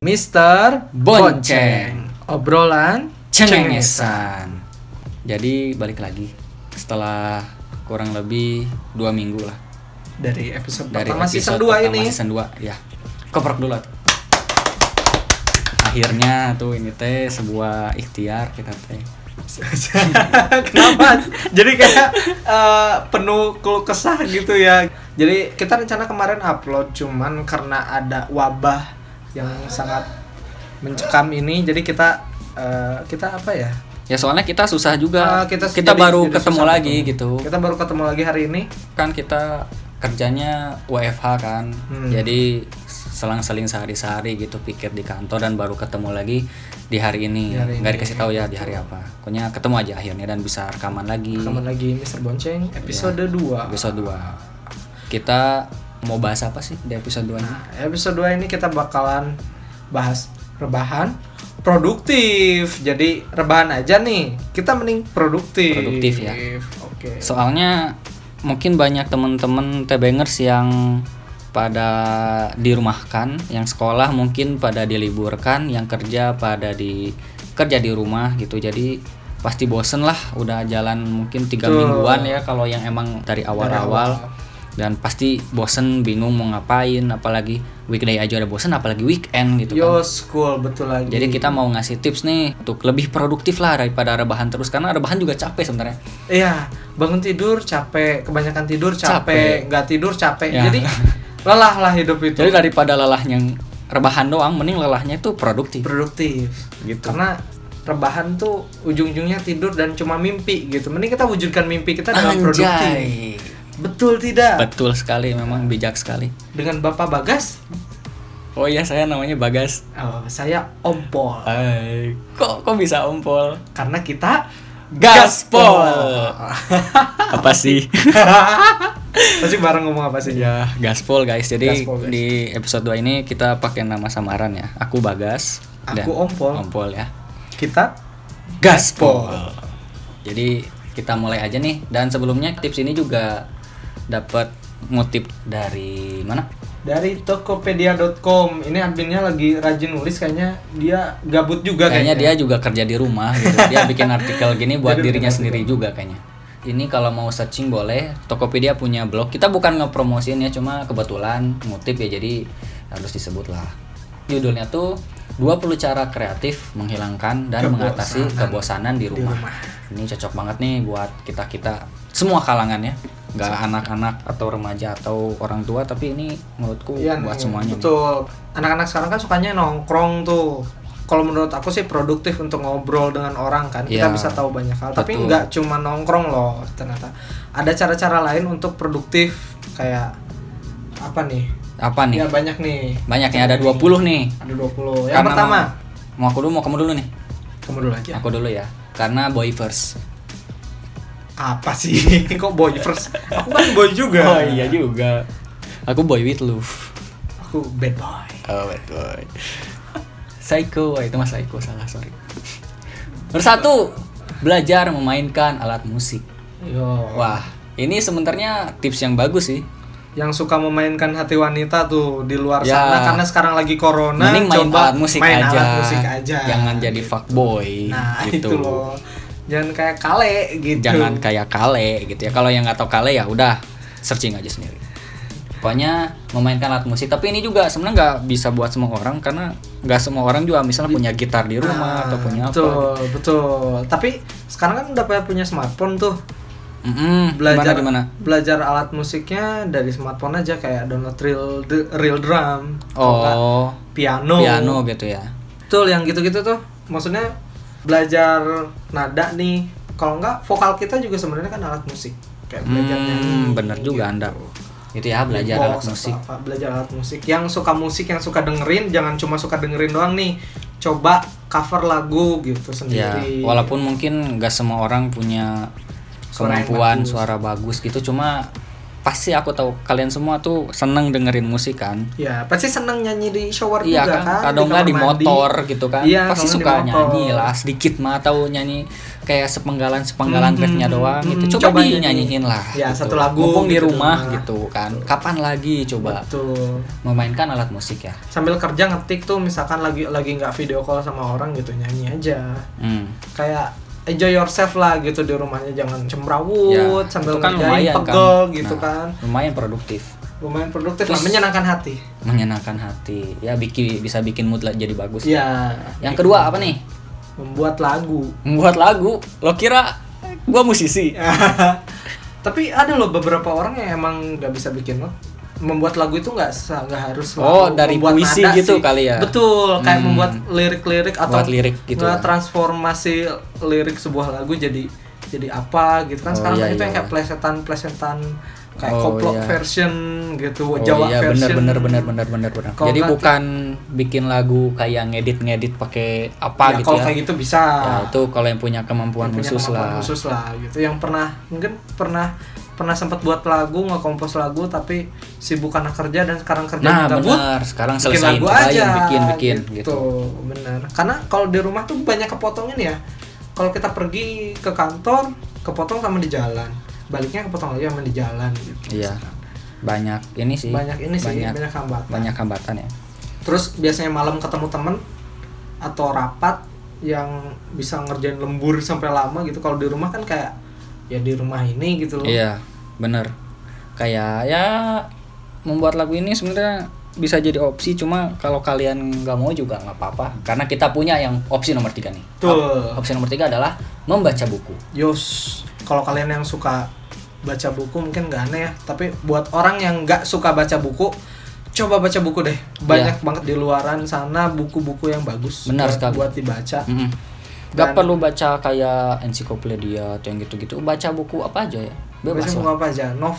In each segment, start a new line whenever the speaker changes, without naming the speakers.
Mr.
Bonceng.
Obrolan
cengengesan. Jadi balik lagi setelah kurang lebih dua minggu lah
Dari episode
dari
pertama
episode
season 2
pertama
ini
season 2 ya. Koprok dulu atuh. Akhirnya tuh ini teh sebuah ikhtiar kita teh.
Kenapa? Jadi kayak eh, penuh keluh kesah gitu ya Jadi kita rencana kemarin upload Cuman karena ada wabah yang sangat mencekam ini Jadi kita eh, kita apa ya
Ya soalnya kita susah juga.
Eh,
kita
jadi-
baru
jadi
ketemu
susah
lagi
ketemu.
gitu.
Kita baru ketemu lagi hari ini
kan kita kerjanya WFH kan
Hmm.
jadi selang-seling sehari-sehari gitu pikir di kantor dan baru ketemu lagi di hari ini
Di hari
nggak
ini,
dikasih tahu ya di hari apa pokoknya ketemu aja akhirnya dan bisa rekaman lagi
Kamu lagi Mr. Bonceng episode
Iya.
2
episode 2 kita mau bahas apa sih di episode 2 ini
Nah, episode 2 ini kita bakalan bahas rebahan produktif. Jadi rebahan aja nih. Kita mending produktif.
Produktif ya.
Oke.
soalnya mungkin banyak temen-temen tebengers yang pada dirumahkan yang sekolah mungkin pada diliburkan yang kerja pada di kerja di rumah gitu jadi pasti bosen lah udah jalan mungkin tiga
Betul.
mingguan ya kalau yang emang dari awal-awal
awal.
dan pasti bosen bingung mau ngapain apalagi weekday aja udah bosen apalagi weekend gitu
Yo
kan
school betul lagi.
jadi kita mau ngasih tips nih untuk lebih produktif lah daripada rebahan terus karena rebahan juga capek sebenarnya
Iya, bangun tidur capek, kebanyakan tidur
Capek.
capek, nggak tidur capek.
Ya.
Jadi lelah lah hidup itu.
Jadi daripada lelahnya yang rebahan doang, mending lelahnya itu produktif.
produktif.
Gitu.
Karena rebahan tuh ujung-ujungnya tidur dan cuma mimpi gitu. Mending kita wujudkan mimpi kita dengan produktif.
Anjay.
Betul tidak?
Betul sekali, memang bijak sekali.
Dengan Bapak Bagas
Oh iya, saya namanya Bagas.
Oh, saya Ompol.
Hai. Kok kok bisa ompol?
Karena kita
Gaspol. apa sih?
Pasti bareng ngomong apa sih?
ya, gaspol guys. Jadi
Gaspol, guys.
di episode 2 ini kita pakai nama samaran ya. Aku Bagas dan
Aku Ompol.
Ompol ya.
Kita
Gaspol. Jadi kita mulai aja nih dan sebelumnya tips ini juga dapat ngutip dari mana?
dari tokopedia.com. Ini adminnya lagi rajin nulis kayaknya dia gabut juga
Kayaknya
kayaknya.
dia juga kerja di rumah gitu. Dia bikin artikel gini buat
Jadi
dirinya
bikin
sendiri juga kayaknya. Ini kalau mau searching boleh, Tokopedia punya blog. Kita bukan ngepromosin ya, cuma kebetulan ngutip ya jadi harus disebut lah. Judulnya tuh 20 cara kreatif menghilangkan dan
Kebosanan.
mengatasi kebosanan di rumah. Ini cocok banget nih buat kita-kita semua kalangan ya. Gak anak-anak atau remaja atau orang tua, tapi ini menurutku
Iya,
buat
nih,
semuanya. nih.
Betul. Anak-anak sekarang kan sukanya nongkrong tuh. Kalau menurut aku sih produktif untuk ngobrol dengan orang kan. Kita
Iya.
bisa tahu banyak hal, tapi
Betul.
nggak cuma nongkrong loh ternyata. Ada cara-cara lain untuk produktif kayak apa nih?
Apa
Ya
nih?
banyak nih.
Banyak ya, ada 20 nih.
Ada 20. Yang
Karena
pertama, Iya.
mau, mau aku dulu mau kamu dulu nih
kamu dulu aja.
aku dulu ya karena boy first
Apa sih? Kok boy first? Aku kan boy juga.
Oh, iya juga aku boy with love
Aku bad boy.
oh bad boy psycho Wah, itu mas psycho salah sorry terus satu belajar memainkan alat musik
Yo.
wah ini sebenarnya tips yang bagus sih
Yang suka memainkan hati wanita tuh di luar
Ya.
sana karena sekarang lagi corona.
mending main
coba
alat musik
main
aja
alat musik aja. gitu.
jangan jadi fuckboy
Nah,
gitu
itu loh. Jangan kayak kale gitu.
jangan kayak kale gitu ya kalau yang nggak tahu kale ya udah searching aja sendiri pokoknya memainkan alat musik tapi ini juga sebenarnya nggak bisa buat semua orang karena nggak semua orang juga misalnya punya gitar di rumah atau
Nah,
punya
Ah, betul,
apa gitu.
betul. Tapi sekarang kan udah pada punya smartphone tuh.
Mm-mm,
Belajar
gimana,
belajar alat musiknya dari smartphone aja kayak download real real drum.
gimana?
atau nggak
oh
piano.
piano gitu ya
Betul yang gitu-gitu tuh. Maksudnya belajar nada nih. Kalau nggak vokal kita juga sebenarnya kan alat musik. Kayak belajar nyanyi.
hmm, bener juga anda itu ya belajar
Beatbox
alat
atau
musik
apa, belajar alat musik. Yang suka musik, yang suka dengerin, jangan cuma suka dengerin doang nih. Coba cover lagu gitu
ya
sendiri.
walaupun mungkin nggak semua orang punya
Suara yang bagus.
kemampuan suara bagus gitu cuma pasti aku tahu kalian semua tuh seneng dengerin musik kan
Ya, pasti seneng nyanyi di shower
Iya
juga
kan,
kan.
kadang
kamar
nggak di
mandi.
motor gitu kan,
Iya, kadang
pasti
di
suka
motor.
nyanyi lah, sedikit mah tahu nyanyi kayak sepenggalan sepenggalan
Hmm,
riffnya doang
hmm,
gitu, coba,
coba nyanyi.
dinyanyiin lah.
Ya, satu lagu
Mumpung di
gitu di
rumah
rumah.
gitu kan, kapan lagi coba
Betul.
memainkan alat musik ya?
Sambil kerja ngetik tuh misalkan lagi lagi nggak video call sama orang gitu nyanyi aja.
Hmm.
Kayak enjoy yourself lah gitu di rumahnya jangan cemrawut
Ya,
sambil
itu kan
ngerjain
lumayan kan.
pegel gitu
Nah,
kan.
Lumayan produktif,
Lumayan produktif lah,
Terus-
menyenangkan hati.
menyenangkan hati, ya bikin bisa bikin mood lah jadi bagus.
Ya,
Iya. Yang kedua apa nih?
membuat lagu.
Membuat lagu. Lo kira gua musisi?
Tapi ada loh beberapa orang yang emang nggak bisa bikin loh. Membuat lagu itu nggak sa- nggak harus
Oh,
selalu
dari
membuat
puisi
nada
gitu
sih.
kali ya?
Betul, kayak
Hmm.
membuat lirik-lirik atau
Buat lirik gitu
nggak
ya.
transformasi lirik sebuah lagu jadi jadi apa gitu kan
Oh,
sekarang
iya,
itu yang
iya.
kayak plesetan-plesetan kayak
Oh,
koplok
iya.
version gitu,
Oh
Jawa
iya
version.
bener bener bener bener bener bener.
Kalau
Jadi
nggak-
bukan bikin lagu kayak ngedit ngedit pakai apa
ya,
gitu
kalau
ya.
kayak gitu bisa.
Ya, itu kalau yang punya kemampuan
punya
khusus
kemampuan
lah.
khusus lah gitu yang pernah mungkin pernah pernah sempat buat lagu ngekompos lagu tapi sibuk karena kerja dan sekarang kerja
Nah
gabut
benar. Sekarang
bikin
selesai
lagu aja
bikin bikin gitu.
benar karena kalau di rumah tuh banyak kepotongin ya kalau kita pergi ke kantor kepotong sama di jalan baliknya kepotong lagi sama di jalan gitu
Iya banyak ini sih.
banyak ini sih
banyak,
banyak, hambatan
banyak hambatan ya.
terus biasanya malam ketemu temen atau rapat yang bisa ngerjain lembur sampai lama gitu kalau di rumah kan kayak ya di rumah ini gitu loh
Iya bener. Kayak ya membuat lagu ini sebenarnya bisa jadi opsi cuma kalau kalian nggak mau juga nggak apa-apa karena kita punya yang opsi nomor tiga nih
Betul.
opsi nomor tiga adalah membaca buku
Yos, kalau kalian yang suka baca buku mungkin nggak aneh ya, tapi buat orang yang nggak suka baca buku, coba baca buku deh.
Iya.
Banyak banget di luaran sana buku-buku yang bagus
Benar
buat,
sekali.
buat dibaca.
Mm-mm. Mm-hmm. Gak
Dan-
perlu baca kayak ensiklopedia atau yang gitu-gitu. Baca buku apa aja ya. Bebas
Baca buku
lah.
apa aja? Nov.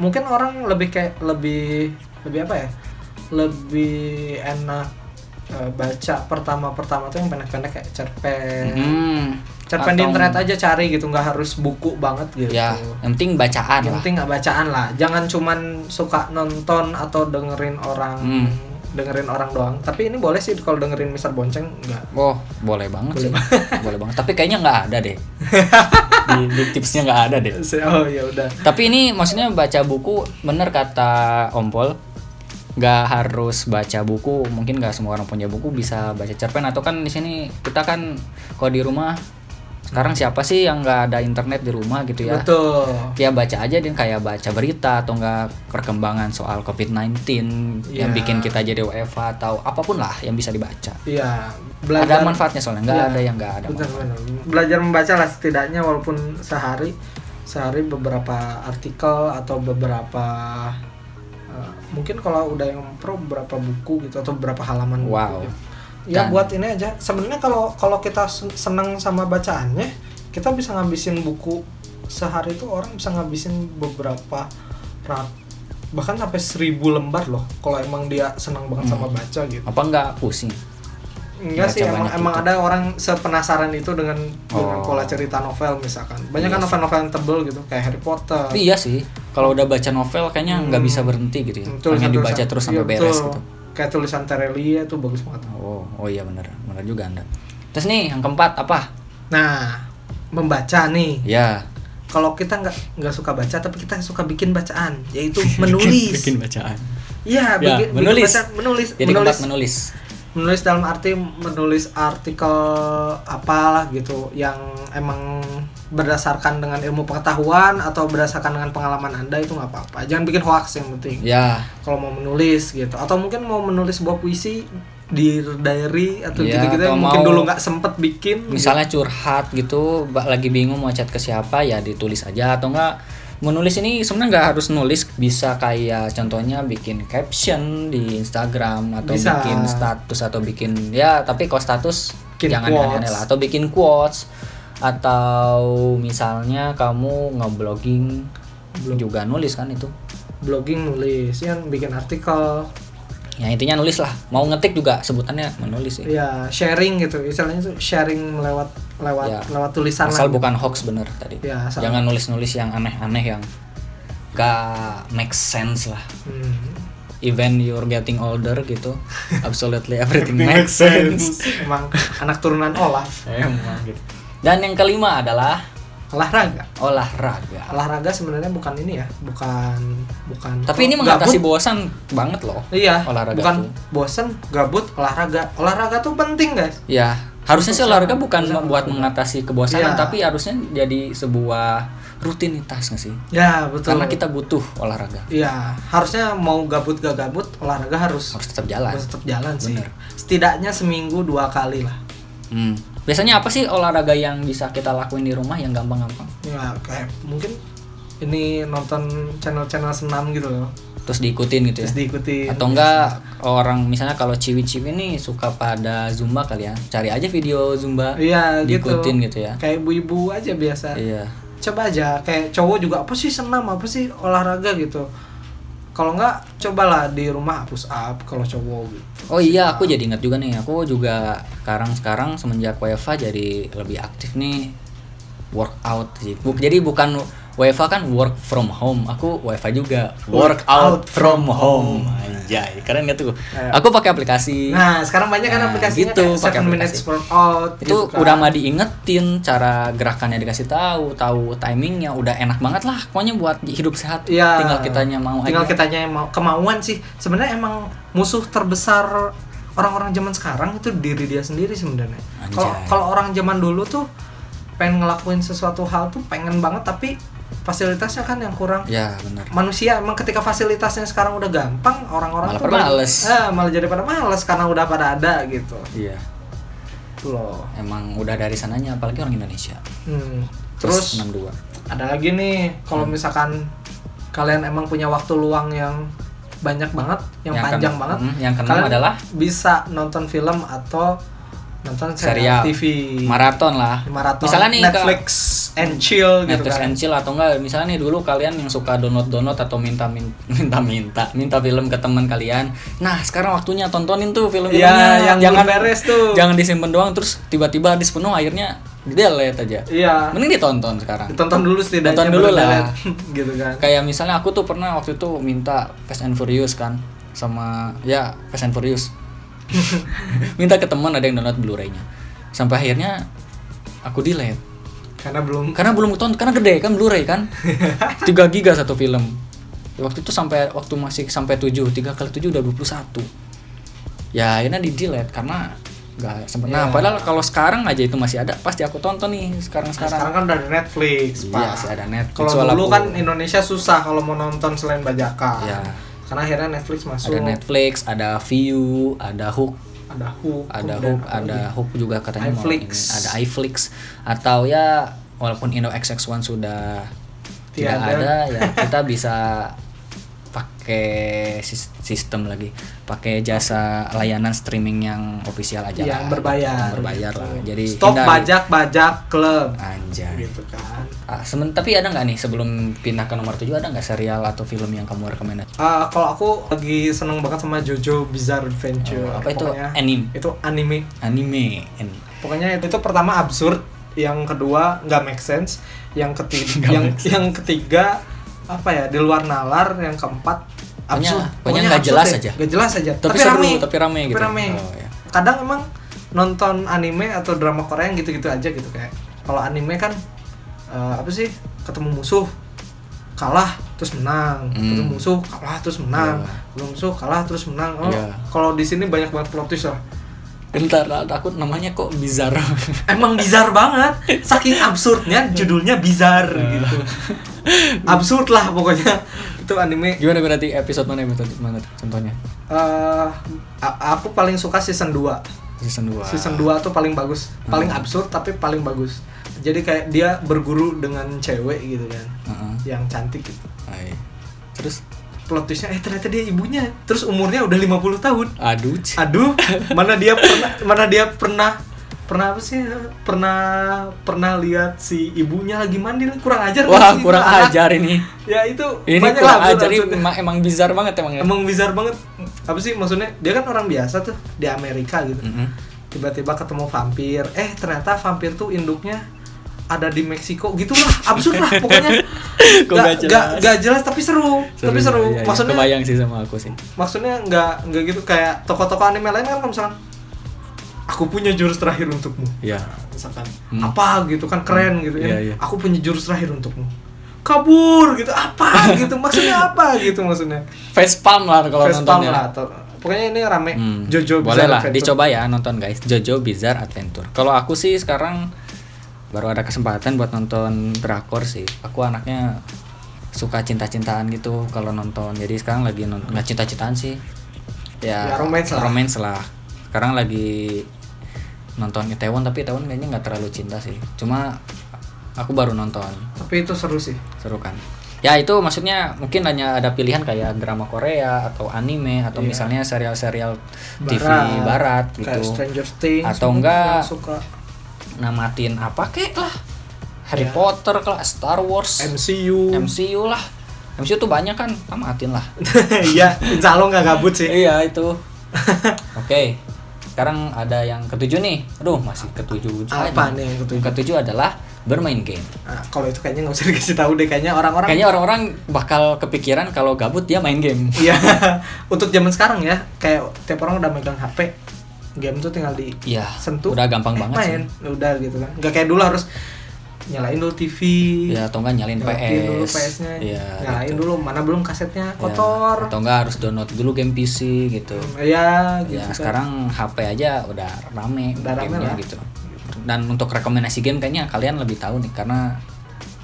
Mungkin orang lebih kayak lebih lebih apa ya? Lebih enak eh, baca pertama-pertama tuh yang pendek-pendek kayak cerpen.
Mm.
Cerpen di
Atau-
internet aja cari gitu, nggak harus buku banget gitu.
Ya, yang penting bacaan
yang
lah.
penting nggak bacaan lah jangan cuman suka nonton atau dengerin orang
Hmm.
dengerin orang doang tapi ini boleh sih kalau dengerin Mister Bonceng nggak
Oh, boleh banget sih. boleh banget. Tapi kayaknya nggak ada deh. di, di tipsnya nggak ada deh.
oh ya udah
Tapi ini maksudnya baca buku bener kata Ompol. Nggak harus baca buku. Mungkin nggak semua orang punya buku bisa baca cerpen atau kan di sini kita kan kalau di rumah sekarang siapa sih yang nggak ada internet di rumah gitu ya?
betul
ya baca aja dan kayak baca berita atau enggak perkembangan soal COVID-19 yang
Iya.
bikin kita jadi WFH atau apapun lah yang bisa dibaca.
iya
Ada
belajar
manfaatnya soalnya, enggak
Iya.
ada yang enggak ada.
benar benar belajar membaca lah setidaknya walaupun sehari sehari beberapa artikel atau beberapa eh, mungkin kalau udah yang pro beberapa buku gitu atau beberapa halaman buku
Wow.
gitu. ya
Dan-
buat ini aja sebenarnya kalau kalau kita sen- seneng sama bacaannya kita bisa ngabisin buku sehari itu orang bisa ngabisin beberapa rat bahkan sampai seribu lembar loh kalau emang dia senang banget sama
Hmm.
baca gitu
Apa enggak pusing?
Enggak
Baca
sih, emang,
banyak
emang
gitu.
ada orang sepenasaran itu dengan dengan
Oh.
pola cerita novel misalkan. Banyak kan
Iya sih.
novel-novel yang tebel gitu, kayak Harry Potter.
Tapi iya sih, kalau udah baca novel kayaknya
Hmm.
nggak bisa berhenti gitu ya. Pengen dibaca terus
iya,
sampai beres
betul.
gitu.
Kayak tulisan Terelia itu bagus banget.
Oh, oh iya bener, bener juga Anda. Terus nih yang keempat apa?
Nah, membaca nih.
Ya,
Kalau kita nggak nggak suka baca, tapi kita suka bikin bacaan, yaitu menulis.
bikin bacaan.
Iya,
Ya,
bikin, bikin
menulis.
bacaan, menulis,
Jadi
menulis,
keempat menulis.
menulis dalam arti menulis artikel apalah gitu yang emang berdasarkan dengan ilmu pengetahuan atau berdasarkan dengan pengalaman anda itu nggak apa-apa jangan bikin hoax yang penting
Ya,
kalau mau menulis gitu atau mungkin mau menulis sebuah puisi di diary atau
Iya,
gitu-gitu
atau
yang mungkin
mau-
dulu nggak sempet bikin
misalnya curhat gitu ba- lagi bingung mau chat ke siapa ya ditulis aja atau enggak menulis ini sebenarnya nggak harus nulis bisa kayak contohnya bikin caption di Instagram atau
Bisa.
bikin status atau bikin ya tapi kalau status
Bikin
jangan
quotes.
aneh-aneh lah atau bikin quotes atau misalnya kamu ngeblogging juga nulis kan itu
blogging nulis ya bikin artikel
ya intinya nulis lah mau ngetik juga sebutannya menulis sih
ya sharing gitu istilahnya itu sharing lewat lewat
Iya.
lewat tulisan
asal
lah.
bukan hoax bener tadi
Ya, asal-
jangan nulis-nulis yang aneh-aneh yang gak make sense lah
Hmm.
even you're getting older gitu absolutely everything
Everything
makes
makes
sense
Emang anak turunan Olaf.
Emang gitu. dan yang kelima adalah
Olahraga.
olahraga
Olahraga sebenarnya bukan ini ya, bukan bukan.
tapi ini
kalau
mengatasi
gabut-
bosan banget loh
Iya,
olahraga
bukan
tuh.
bosen, gabut, olahraga. Olahraga tuh penting, guys.
ya harusnya sih
Bosan.
olahraga bukan
Bosan.
buat mengatasi
Iya.
kebosanan tapi harusnya jadi sebuah rutinitas nggak sih
Ya, betul.
karena kita butuh olahraga
Iya, harusnya mau gabut gak gabut, olahraga harus
harus tetap jalan
harus tetap jalan sih.
Bener.
Setidaknya seminggu dua kali lah.
Hmm. biasanya apa sih olahraga yang bisa kita lakuin di rumah yang gampang-gampang
Ya, kayak mungkin ini nonton channel-channel senam gitu loh.
terus diikutin gitu ya
Terus diikuti
atau enggak orang misalnya kalau ciwi-ciwi nih suka pada zumba kali ya cari aja video zumba
Iya, gitu.
diikutin gitu ya
Kayak ibu-ibu aja biasa.
iya
coba aja kayak cowok juga apa sih senam apa sih olahraga gitu kalau nggak cobalah di rumah push up kalau cowok gitu
oh iya aku jadi ingat juga nih aku juga sekarang sekarang semenjak WFA jadi lebih aktif nih workout sih Bu- jadi bukan WFA kan work from home aku WFA juga workout from home anjay keren gak tuh aku pakai aplikasi
nah sekarang banyak kan
Nah,
aplikasinya
gitu,
kayak
pakai
7 minutes workout
itu
gitu kan.
udah mah diingetin cara gerakannya dikasih tahu tahu timingnya udah enak banget lah pokoknya buat hidup sehat
Iya.
tinggal kitanya mau
tinggal
aja
kitanya yang mau kemauan sih sebenarnya emang musuh terbesar orang-orang zaman sekarang itu diri dia sendiri sebenarnya
Anjay.
kalau kalau orang zaman dulu tuh pengen ngelakuin sesuatu hal tuh pengen banget tapi fasilitasnya kan yang kurang
ya benar
manusia emang ketika fasilitasnya sekarang udah gampang orang-orang
Malah
tuh
pada
balik-
males.
Eh, malah jadi pada males karena udah pada ada gitu
iya
Itu loh
emang udah dari sananya apalagi orang Indonesia
Hmm. terus
62
ada lagi nih
Hmm.
kalau misalkan kalian emang punya waktu luang yang banyak banget yang,
Yang
panjang
keenam-
banget
hmm, yang keenam
kalian
adalah?
bisa nonton film atau nonton serial,
Serial.
TV
maraton lah
maraton
misalnya nih
Netflix and chill
ke
gitu
Netflix
kan
and chill atau enggak misalnya nih dulu kalian yang suka download download atau minta min- minta minta minta film ke teman kalian nah sekarang waktunya tontonin tuh film-filmnya
Iya, yang belum beres tuh.
jangan disimpan doang terus tiba-tiba habis penuh akhirnya delete aja
iya
mending ditonton sekarang
ditonton dulu setidaknya
Tonton dulu
baru
lah.
kalian- gitu kan
kayak misalnya aku tuh pernah waktu itu minta Fast and Furious kan sama ya Fast and Furious minta ke teman ada yang download Blu-raynya sampai akhirnya aku delete
karena belum
karena belum tonton karena gede kan Blu-ray kan 3 giga satu film waktu itu sampai waktu masih sampai 7 3 kali 7 udah 21 ya akhirnya di delete karena nggak sempet nah padahal kalau sekarang aja itu masih ada pasti aku tonton nih sekarang
Nah,
sekarang
sekarang kan udah ada Netflix,
Iya,
Pak.
sih ada Netflix,
Kalau dulu
walaupun-
kan Indonesia susah kalau mau nonton selain bajakan.
Iya.
Karena akhirnya Netflix masuk.
ada Netflix ada View ada Hook
Ada Hook.
ada
kemudian
hook
apa
ada
lagi?
hook juga katanya mau
iFlix.
ini. ada iFlix atau ya walaupun Indo XX1 sudah tidak
Tiada.
ada ya kita bisa pakai sis- sistem lagi pakai jasa layanan streaming yang official aja
Iya, yang
lah.
berbayar.
Yang berbayar
gitu.
lah jadi
stop
hindari.
bajak-bajak klub.
anjay
Gitu kan.
Ah, semen- tapi ada nggak nih sebelum pindah ke nomor 7 ada nggak serial atau film yang kamu rekomendasi
Ah, kalau aku lagi seneng banget sama Jojo Bizarre Adventure.
Oh, apa itu?
Pokoknya
Anime.
Itu anime.
anime An-
Pokoknya itu, itu pertama absurd, yang kedua nggak make sense, yang ketiga
Nggak
yang
make sense.
yang ketiga apa ya di luar nalar, yang keempat absurd.
pokoknya nggak
absurd
jelas
deh,
aja.
nggak jelas aja.
Tapi seru, tapi rame gitu. Oh, iya.
Kadang emang nonton anime atau drama Korea yang gitu-gitu aja gitu kayak. Kalau anime kan eh, apa sih ketemu musuh kalah terus menang,
Hmm.
ketemu musuh kalah terus menang,
Iya.
ketemu musuh kalah terus menang. Oh,
Iya.
kalau di sini banyak banget plot twist lah.
bentar aku namanya kok bizarre
Emang bizar banget, saking absurdnya judulnya bizar gitu. Absurd lah pokoknya itu anime.
Gimana berarti episode mana episode mana contohnya?
eh a- aku paling suka season 2
Season 2.
Season 2 tuh paling bagus, paling absurd tapi paling bagus. Jadi kayak dia berguru dengan cewek gitu kan, yang cantik gitu.
Terus
Plot twistnya eh ternyata dia ibunya, terus umurnya udah 50 tahun.
aduh. c-
Aduh, mana dia pernah mana dia pernah pernah apa sih? Pernah pernah lihat si ibunya lagi mandi lah. kurang ajar kan
Wah,
sih
kurang
itu anak?
ajar ini.
Ya itu
Ini
banyak
kurang
lah
ajar ini
absurd-absurdnya.
emang, emang bizar banget emang. ya?
Emang bizar banget. Apa sih maksudnya? Dia kan orang biasa tuh di Amerika gitu.
Mm-mm.
Tiba-tiba ketemu vampir. Eh, ternyata vampir tuh induknya ada di Meksiko gitu lah absurd lah pokoknya
Kok
Gak, gak,
gak jelas?
gak jelas tapi seru, tapi seru.
Iya, iya.
maksudnya
kebayang sih sama aku sih.
maksudnya nggak nggak gitu kayak toko-toko anime lain kan kalau misalkan aku punya jurus terakhir untukmu
Iya.
misalkan
Hmm.
apa gitu kan keren gitu
Iya,
ini
iya.
aku punya jurus terakhir untukmu kabur gitu apa gitu maksudnya apa gitu maksudnya
Face palm lah kalau
Fest palm
nontonnya.
lah atau pokoknya ini rame
Hmm,
Jojo
boleh
Bizarre
lah
Adventure.
dicoba ya nonton guys Jojo Bizarre Adventure kalau aku sih sekarang baru ada kesempatan buat nonton drakor sih aku anaknya suka cinta-cintaan gitu kalau nonton jadi sekarang lagi non- nggak cinta-cintaan sih ya,
Ya, romance lah.
romance lah sekarang lagi nonton Itaewon tapi Itaewon kayaknya nggak terlalu cinta sih cuma aku baru nonton
tapi itu seru sih
seru kan ya itu maksudnya mungkin hanya ada pilihan kayak drama Korea atau anime atau
Iya.
misalnya serial-serial TV
Barat.
barat
kayak
gitu
Stranger Things
Atau
mungkin
enggak.
yang suka
namatin apa kek lah Harry
Iya.
Potter lah Star Wars
MCU
MCU lah MCU tuh banyak kan namatin lah
iya insya Allah nggak gabut sih
iya itu oke sekarang ada yang ketujuh nih aduh masih ketujuh aja.
Apa nih yang ketujuh?
ketujuh adalah bermain game
Nah, kalau itu kayaknya nggak usah dikasih tahu deh kayaknya orang-orang
kayaknya orang-orang bakal kepikiran kalau gabut dia main game
Iya. Untuk zaman sekarang ya, kayak tiap orang udah megang HP, game tuh tinggal di
Iya,
sentuh.
udah gampang
eh,
banget
main. Udah gitu kan. Gak kayak dulu harus nyalain dulu TV.
Ya atau enggak nyalain
nyalain
PS.
dulu PS-nya.
Ya,
nyalain
gitu.
dulu mana belum kasetnya
Ya,
kotor.
atau enggak harus download dulu game PC gitu.
Ya, gitu.
Ya
kan.
sekarang HP aja udah rame
Udah rame lah.
gamenya gitu. Dan untuk rekomendasi game kayaknya kalian lebih tahu nih karena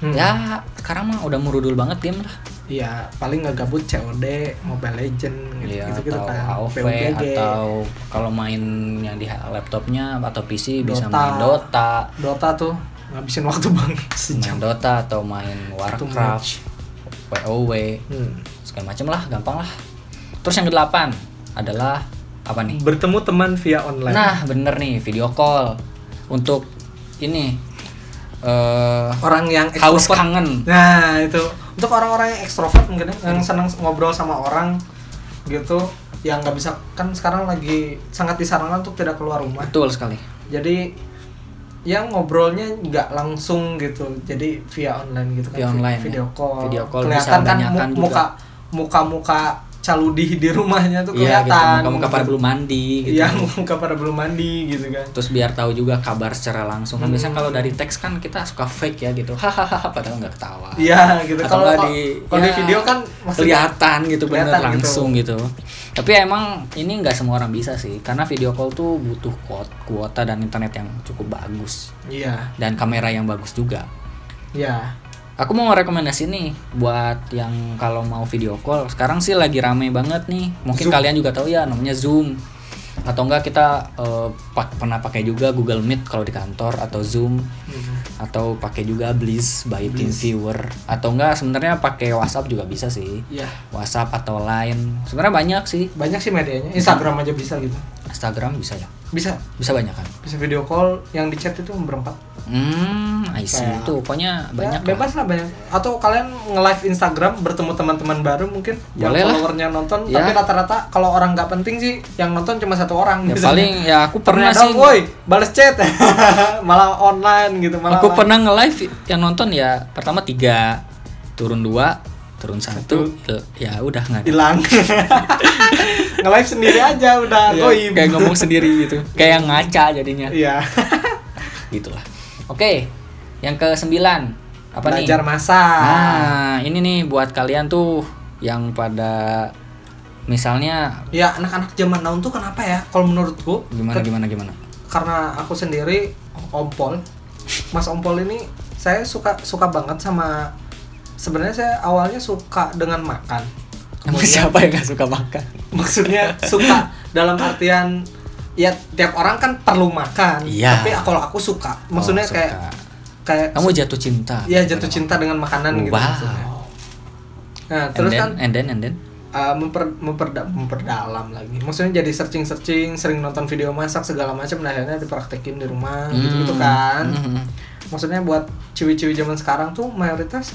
Hmm.
ya sekarang mah udah merudul banget game lah.
Iya, paling nggak gabut COD, Mobile Legend gitu,
Ya,
gitu,
atau
kan.
AOV
PUBG,
atau kalau main yang di laptopnya atau PC bisa
Dota.
main Dota,
Dota tuh ngabisin waktu banget sejam.
main Dota atau main
match.
Warcraft, WoW.
Hmm.
segala macam lah gampang lah terus yang kedelapan adalah apa nih
Bertemu teman via online.
nah bener nih video call untuk ini eh
orang yang
haus
extrovert.
kangen
Nah itu untuk orang-orang yang ekstrovert mungkin ya, yang senang ngobrol sama orang gitu yang nggak bisa kan sekarang lagi sangat disarankan untuk tidak keluar rumah
betul sekali
jadi yang ngobrolnya nggak langsung gitu jadi via online gitu kan
Via
vi-
online,
video
ya.
call
Video call
kelihatan
bisa
kan mu-
banyakan juga.
muka muka muka caludih di rumahnya tuh
iya
kelihatan
gitu muka muka pada belum mandi gitu
Iya, muka pada belum mandi gitu kan
terus biar tahu juga kabar secara langsung
Hmm.
kan biasanya kalau dari teks kan kita suka fake ya gitu hahaha padahal nggak ketawa
iya gitu
Atau
kalau
nggak
kalau-
di-
kalau di
ya,
video kan maksudnya
kelihatan gitu bener
kelihatan gitu.
langsung gitu. Tapi emang ini nggak semua orang bisa sih karena video call tuh butuh kuot- kuota dan internet yang cukup bagus
iya
dan kamera yang bagus juga.
iya
Aku mau rekomendasi nih buat yang kalau mau video call. Sekarang sih lagi rame banget nih. Mungkin
Zoom.
kalian juga tahu ya namanya Zoom. Atau enggak kita eh, pak- pernah pakai juga Google Meet kalau di kantor atau Zoom
Hmm.
atau pakai juga Blizz by TeamViewer atau enggak sebenarnya pakai WhatsApp juga bisa sih.
Iya,
WhatsApp atau lain. Sebenarnya banyak sih.
banyak sih medianya. Instagram aja bisa gitu.
Instagram bisa ya.
Bisa,
Bisa banyak kan?
bisa video call yang di chat itu berempat.
Hmm, I see.
Kayak-
Itu pokoknya banyak
Ya, bebas lah banyak. Atau kalian nge-live Instagram bertemu teman-teman baru mungkin
Boleh
yang
lah.
followernya nonton,
Ya.
tapi rata-rata kalau orang nggak penting sih yang nonton cuma satu orang.
Ya,
biasanya.
paling ya aku pernah
Kadang,
sih.
gitu. woi, balas chat. malah online gitu, malah
Aku pernah nge-live yang nonton ya pertama tiga, turun dua, turun satu, ya udah nggak ada.
hilang. nge-live sendiri aja udah
Ya,
goib.
kayak gitu. ngomong sendiri gitu. Kayak ngaca jadinya.
Iya.
Gitulah. Oke. Yang ke sembilan apa nih?
Belajar masak.
Nah, ini nih buat kalian tuh yang pada misalnya
Ya anak-anak zaman now tuh kenapa ya? Kalau menurutku
gimana gimana gimana.
karena aku sendiri ompol mas ompol ini saya suka suka banget sama sebenarnya saya awalnya suka dengan makan
Emang siapa yang gak suka makan?
maksudnya suka dalam artian ya tiap orang kan perlu makan
Iya.
tapi kalau aku suka maksudnya
Oh, suka.
kayak kayak
kamu jatuh cinta.
ya jatuh cinta dengan makanan gitu
Wow.
maksudnya. nah
And
terus
then,
kan
and then and then.
uh, memper- memperda- memperdalam lagi. Maksudnya jadi searching searching, sering nonton video masak segala macam, nah akhirnya dipraktekin di rumah gitu gitu kan.
Hmm.
Maksudnya buat ciwi-ciwi zaman sekarang tuh mayoritas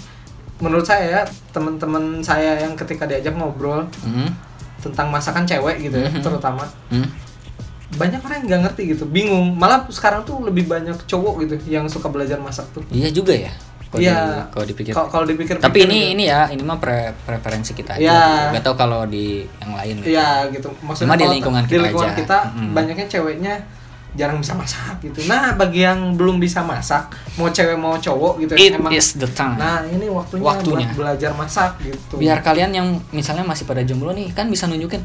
menurut saya ya, teman-teman saya yang ketika diajak ngobrol
Hmm.
tentang masakan cewek gitu ya,
Mhm.
terutama
Hmm.
banyak orang yang nggak ngerti gitu, bingung. Malah sekarang tuh lebih banyak cowok gitu yang suka belajar masak tuh.
Iya juga ya. kalau
Iya.
di- kalau dipikir
Kalau gitu. kalau dipikir
Gitu. tapi ini ini ya ini mah pre- preferensi kita aja
Iya.
gak tau kalau di yang lain gitu.
Iya gitu. Maksudnya
Cuma di
kalau
lingkungan
di
kita
lingkungan
aja. Mm-hmm.
kita
Mm-mm.
banyaknya ceweknya jarang bisa masak gitu. Nah, bagi yang belum bisa masak, mau cewek mau cowok gitu
it
yang emang
is the time
Nah, ini waktunya,
Waktunya.
buat belajar masak gitu.
biar kalian yang misalnya masih pada jomblo nih kan bisa nunjukin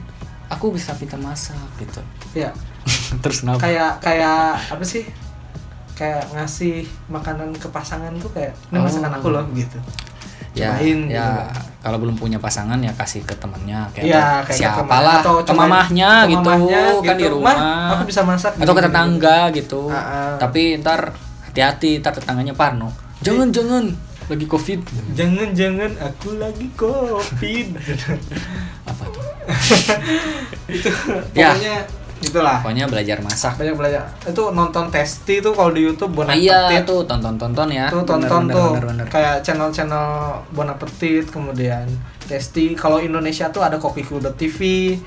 aku bisa pintar masak gitu
ya
terus kenapa
kayak kayak apa sih? Kayak ngasih makanan ke pasangan tuh kayak ini
Oh.
masakan aku loh gitu.
ya,
cobain gitu,
ya
Bang.
kalau belum punya pasangan ya kasih ke temannya kayak,
Iya,
ke
kayak teman
siapalah
atau
ke
cobain-
mamahnya
ke
gitu
mamahnya
kan di
gitu.
rumah
"Mah, aku bisa masak
atau ke
gini,
tetangga gitu
Ah, ah.
tapi ntar hati-hati ntar tetangganya Parno jangan
Iya.
jangan lagi covid
Jangan-jangan aku lagi covid.
apa tuh
itu
Ya.
pokoknya itulah.
pokoknya belajar masak
banyak belajar itu nonton testi tuh kalau di YouTube Bon
Ah, iya
Appetit.
tuh tonton tonton ya
tuh
Bener,
tonton
bener,
tuh
bener, bener.
kayak channel-channel Bon Appetit kemudian testi kalau Indonesia tuh ada Kokiku.tv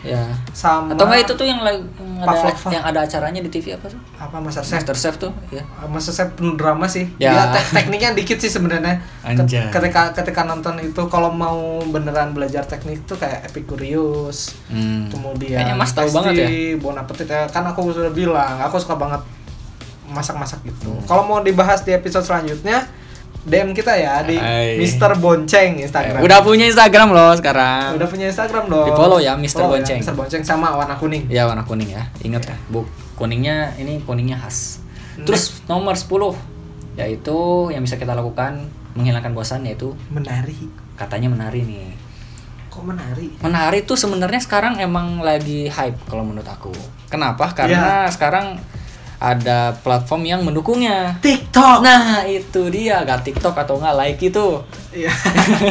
ya
sama
atau enggak itu tuh yang, lagi- yang ada
Pavlova.
yang ada acaranya di TV apa tuh
apa Master Chef Ah,
Master Chef tuh ya
Master Chef penuh drama sih
Ya.
Dia te- tekniknya dikit sih sebenarnya Ket-
Anjay.
ketika ketika nonton itu kalau mau beneran belajar teknik tuh kayak Epicurious
Hmm.
kemudian
Kayaknya Mas tahu
testi,
banget ya.
Bon Appetit ya. kan aku sudah bilang aku suka banget masak-masak gitu
Hmm.
kalau mau dibahas di episode selanjutnya DM kita ya di
Hai. Eh,
Mister Bonceng Instagram
udah punya Instagram loh sekarang
Udah punya Instagram dong
Di-follow ya, Mr.
Follow
Bonceng.
Mr. Bonceng sama warna kuning
Ya warna kuning ya. Ingat ya, Bu. Kuningnya ini kuningnya khas.
Hmm.
Terus nomor 10 yaitu yang bisa kita lakukan menghilangkan bosan yaitu
menari
katanya menari nih.
kok menari
Menari tuh sebenarnya sekarang emang lagi hype kalau menurut aku. Kenapa?
Iya.
Karena sekarang ada platform yang mendukungnya.
TikTok
Nah, itu dia. Gak TikTok atau nggak like itu.
Iya.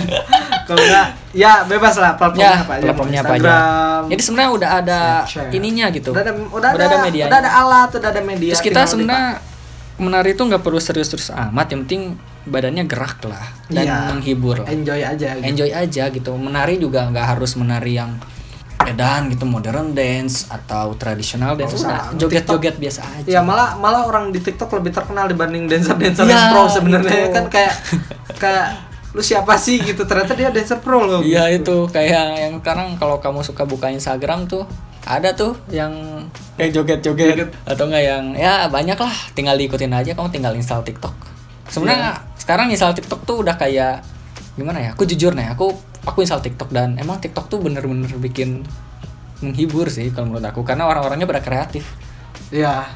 kalau enggak ya bebas lah platformnya
Ya,
apa aja
platformnya
Mau
apa aja.
Instagram
Jadi sebenarnya udah ada
Snapchat.
ininya gitu.
udah ada udah,
Udah
ada,
ada medianya.
udah ada alat udah ada media
Terus kita
tinggal
sebenarnya menari itu nggak perlu serius-serius amat, yang penting badannya gerak lah dan
Iya.
menghibur
dipak-
lah.
enjoy aja gitu.
Enjoy aja gitu. Menari juga nggak harus menari yang edan gitu modern dance atau tradisional dance
Nggak usah,
udah joget-joget biasa aja.
Ya malah malah orang di TikTok lebih terkenal dibanding dancer-dancer
Ya,
yang pro sebenarnya
itu.
kan kayak kayak lu siapa sih gitu ternyata dia dancer pro loh.
Iya itu kayak yang sekarang kalau kamu suka buka Instagram tuh ada tuh yang kayak joget-joget atau enggak yang ya banyak lah tinggal diikutin aja kamu tinggal install TikTok. Sebenarnya sekarang install TikTok tuh udah kayak gimana ya? Aku jujur nih, aku aku install TikTok dan emang TikTok tuh bener-bener bikin menghibur sih kalau menurut aku karena orang-orangnya pada kreatif.
Iya.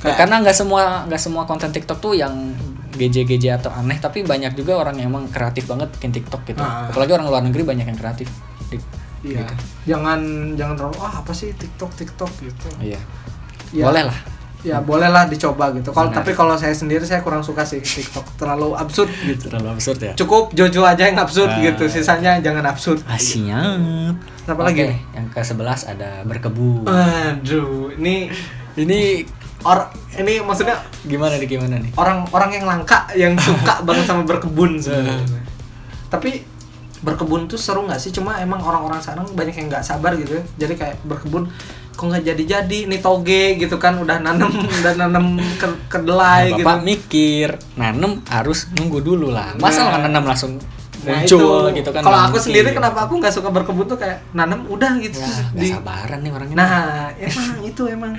Kayak
Karena nggak semua nggak semua konten TikTok tuh yang GJ-GJ atau aneh, tapi banyak juga orang yang emang kreatif banget bikin TikTok gitu.
Ah.
Apalagi orang luar negeri banyak yang kreatif. Di-
Iya.
Gitu.
Jangan jangan terlalu ah apa sih TikTok TikTok gitu.
Iya.
Iya.
Boleh lah.
Ya bolehlah dicoba gitu. Kalau
Benar.
tapi kalau saya sendiri saya kurang suka sih TikTok terlalu absurd gitu.
Terlalu absurd ya.
Cukup Jojo aja yang absurd
Ah.
gitu. Sisanya jangan absurd.
Asyik.
Apa lagi nih?
Ah, Yang ke-11 ada berkebun.
Aduh, ini
Ini
or ini maksudnya
gimana nih gimana nih?
orang-orang yang langka yang suka banget sama berkebun sebenarnya.
Hmm.
Tapi berkebun tuh seru nggak sih? Cuma emang orang-orang sekarang banyak yang nggak sabar gitu. ya. Jadi kayak berkebun kok nggak jadi-jadi nih toge gitu kan udah nanem udah nanem ke- kedelai
Nah,
gitu.
Bapak mikir, nanem harus nunggu dulu lah. Masa
Nah.
nggak nanem langsung
Nah,
muncul gitu kan?
Kalau
nggak
aku
mungkin.
sendiri kenapa aku nggak suka berkebun tuh kayak nanem udah gitu
Ya,
terus
nggak
di-
sabaran nih orangnya.
Nah, emang itu emang.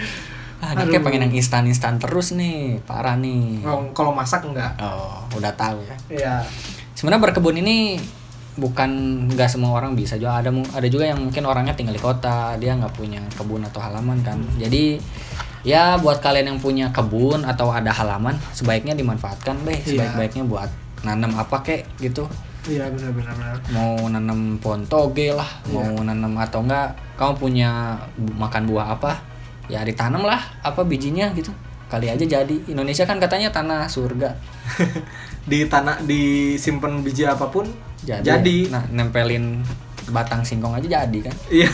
Ah, dia kayak
Aduh.
pengen yang instan-instan terus nih, parah nih.
Oh, kalau masak enggak.
Oh, udah tahu ya.
Iya.
Sebenarnya berkebun ini bukan nggak semua orang bisa juga ada mu- ada juga yang mungkin orangnya tinggal di kota dia nggak punya kebun atau halaman kan jadi ya buat kalian yang punya kebun atau ada halaman sebaiknya dimanfaatkan deh
Iya.
sebaik-baiknya buat nanam apa kek gitu
Iya benar benar benar.
mau nanam pohon toge lah mau nanam atau enggak kamu punya bu- makan buah apa ya ditanam lah apa bijinya gitu kali aja jadi Indonesia kan katanya tanah surga
di tanah disimpan biji apapun
jadi,
jadi,
nah nempelin batang singkong aja jadi kan
iya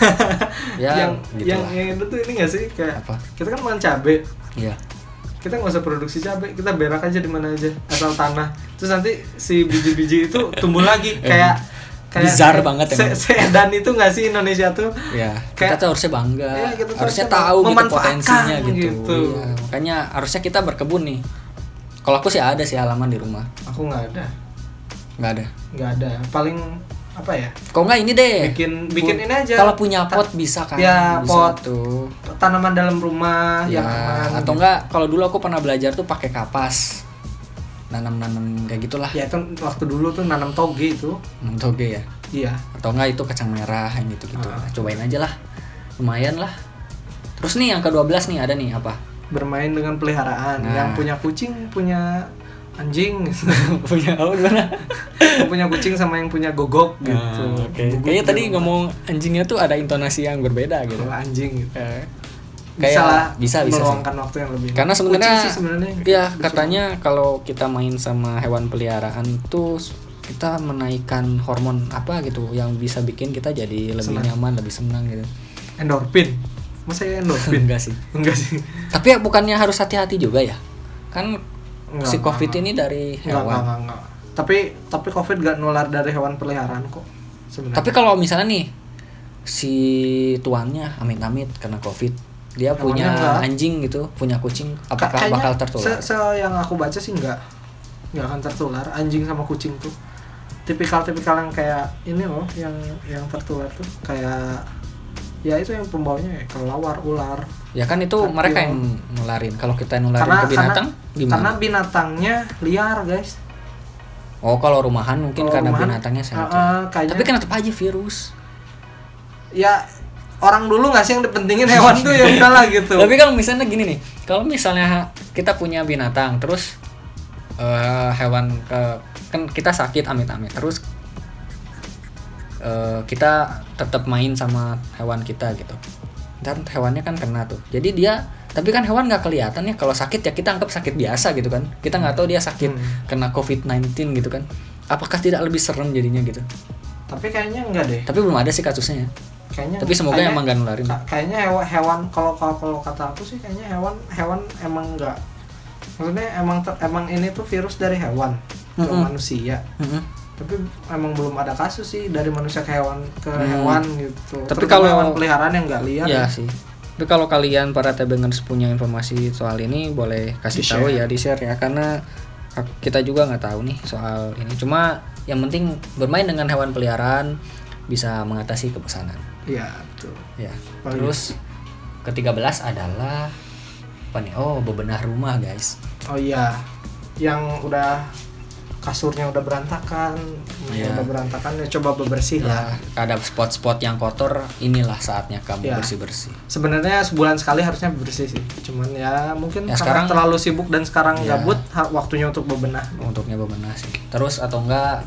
Ya,
yang
gitu
yang,
lah.
yang itu tuh ini gak sih kayak
Apa?
kita kan makan cabe
iya
kita nggak usah produksi cabe kita berak aja di mana aja asal tanah terus nanti si biji-biji itu tumbuh lagi kayak kayak
Bizarre banget
se,
emang.
dan itu nggak sih Indonesia tuh
ya
Kayak-
kita tuh harusnya
Iya,
bangga
kita tuh
harusnya
harusnya
tahu gitu
memanfaatkan
potensinya gitu,
gitu.
Iya, makanya harusnya kita berkebun nih kalau aku sih ada sih halaman di rumah
aku nggak ada
nggak ada
nggak ada paling apa ya
kok nggak ini deh
bikin bikin
Pu-
ini aja
kalau punya
Ta-
pot bisa kan
Ya,
bisa
pot.
tuh
tanaman dalam rumah
ya,
yang aman
atau enggak kalau dulu aku pernah belajar tuh pakai kapas nanam-nanam kayak gitulah
ya itu waktu dulu tuh nanam toge itu
nanam toge ya
iya
atau enggak itu kacang merah yang gitu gitu
Ah.
cobain aja lah lumayan lah terus nih yang ke-12 nih ada nih apa
bermain dengan peliharaan
Nah.
yang punya kucing punya anjing gitu.
punya apa gimana
yang punya kucing sama yang punya gogok gitu Guguk
Nah, kayaknya
di
tadi
rumah.
ngomong anjingnya tuh ada intonasi yang berbeda gitu
Kalau anjing gitu
Eh,
bisa lah
kayak bisa bisa sih.
meluangkan waktu yang lebih
karena
Kucing
sebenarnya
sih sebenarnya gitu.
ya katanya kalau kita main sama hewan peliharaan tuh kita menaikkan hormon apa gitu yang bisa bikin kita jadi lebih
Senang.
nyaman lebih senang gitu
endorfin masa ya endorfin
enggak sih
enggak sih
tapi ya bukannya harus hati-hati juga ya kan
Enggak,
si
enggak,
covid ini dari
enggak, enggak,
hewan
enggak, enggak. tapi tapi covid gak nular dari hewan peliharaan kok sebenarnya
tapi kalau misalnya nih si tuannya amit-amit karena covid dia
Hewannya
punya
enggak.
anjing gitu punya kucing apakah
Ka- kayaknya
bakal tertular
Se, se- yang aku baca sih enggak enggak akan tertular anjing sama kucing tuh tipikal-tipikal yang kayak ini loh yang yang tertular tuh kayak ya itu yang pembawanya ya kelawar ular
ya kan itu
Tapi
mereka
yang-
yang nularin kalau kita
iya.
nularin
karena
ke binatang
karena,
gimana
karena binatangnya liar guys
Oh, kalau rumahan
Kalau
mungkin karena
rumahan,
binatangnya sehat. ya.
uh-uh, kayaknya-
Tapi kan tetap aja virus.
ya orang dulu nggak sih yang dipentingin hewan tuh ya udahlah gitu
Tapi kalau misalnya gini nih, kalau misalnya kita punya binatang terus eh, hewan ke- kan kita sakit amit-amit terus eh, kita tetap main sama hewan kita gitu. Dan hewannya kan kena tuh. Jadi dia tapi kan hewan nggak kelihatan ya kalau sakit ya kita anggap sakit biasa gitu kan. Kita nggak tahu dia sakit
Hmm.
kena COVID-19 gitu kan. Apakah tidak lebih serem jadinya gitu?
tapi kayaknya enggak deh
Tapi belum ada sih kasusnya ya.
kayaknya
Tapi semoga
kayaknya-
emang gak nularin.
Ka- kayaknya hewan hewan kalau kalau kalau kata aku sih kayaknya hewan hewan emang enggak maksudnya emang ter- emang ini tuh virus dari hewan ke
Mm-mm.
manusia
Mm-mm.
tapi emang belum ada kasus sih dari manusia ke hewan ke
Hmm.
hewan gitu Terutama
Tapi kalau-
hewan peliharaan yang nggak liar
Iya sih. Tapi kalau kalian para tebengers punya informasi soal ini boleh kasih
Di-share.
tahu ya di share ya karena ak- kita juga nggak tahu nih soal ini. Cuma yang penting bermain dengan hewan peliharaan bisa mengatasi kebosanan.
iya tuh
Ya.
Paling-
Terus ke-13 adalah apa nih? Oh, bebenah rumah, guys.
oh iya yang udah kasurnya udah berantakan
Iya.
udah berantakan ya coba bebersih lah
Ya, ada spot-spot yang kotor, inilah saatnya
Ya.
kamu bersih-bersih.
sebenarnya sebulan sekali harusnya bersih sih cuman ya mungkin
Ya,
karena
sekarang-
terlalu sibuk dan sekarang
Ya.
gabut ha- waktunya untuk bebenah
untuknya bebenah sih. Terus atau enggak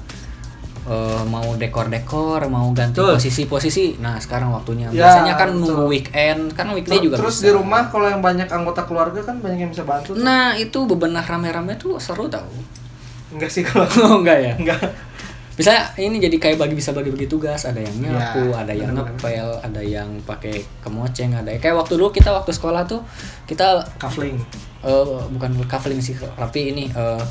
eh, mau dekor-dekor, mau ganti
Betul.
posisi-posisi. Nah, sekarang waktunya.
Ya,
Biasanya kan
betul.
nunggu weekend, kan weekday
Ter-
juga
terus
bisa.
di rumah kalau yang banyak anggota keluarga kan banyak yang bisa bantu tuh.
Nah, itu bebenah rame-rame tuh seru tau.
enggak sih kalau
Oh, enggak ya?
enggak
Misalnya ini jadi kayak bagi bisa bagi-bagi tugas, ada yang
Ya,
nyapu, ada yang
benar-benar.
ngepel, ada yang pakai kemoceng, ada kayak waktu dulu kita waktu sekolah tuh kita
kafling
eh, bukan kaveling sih tapi ini eh,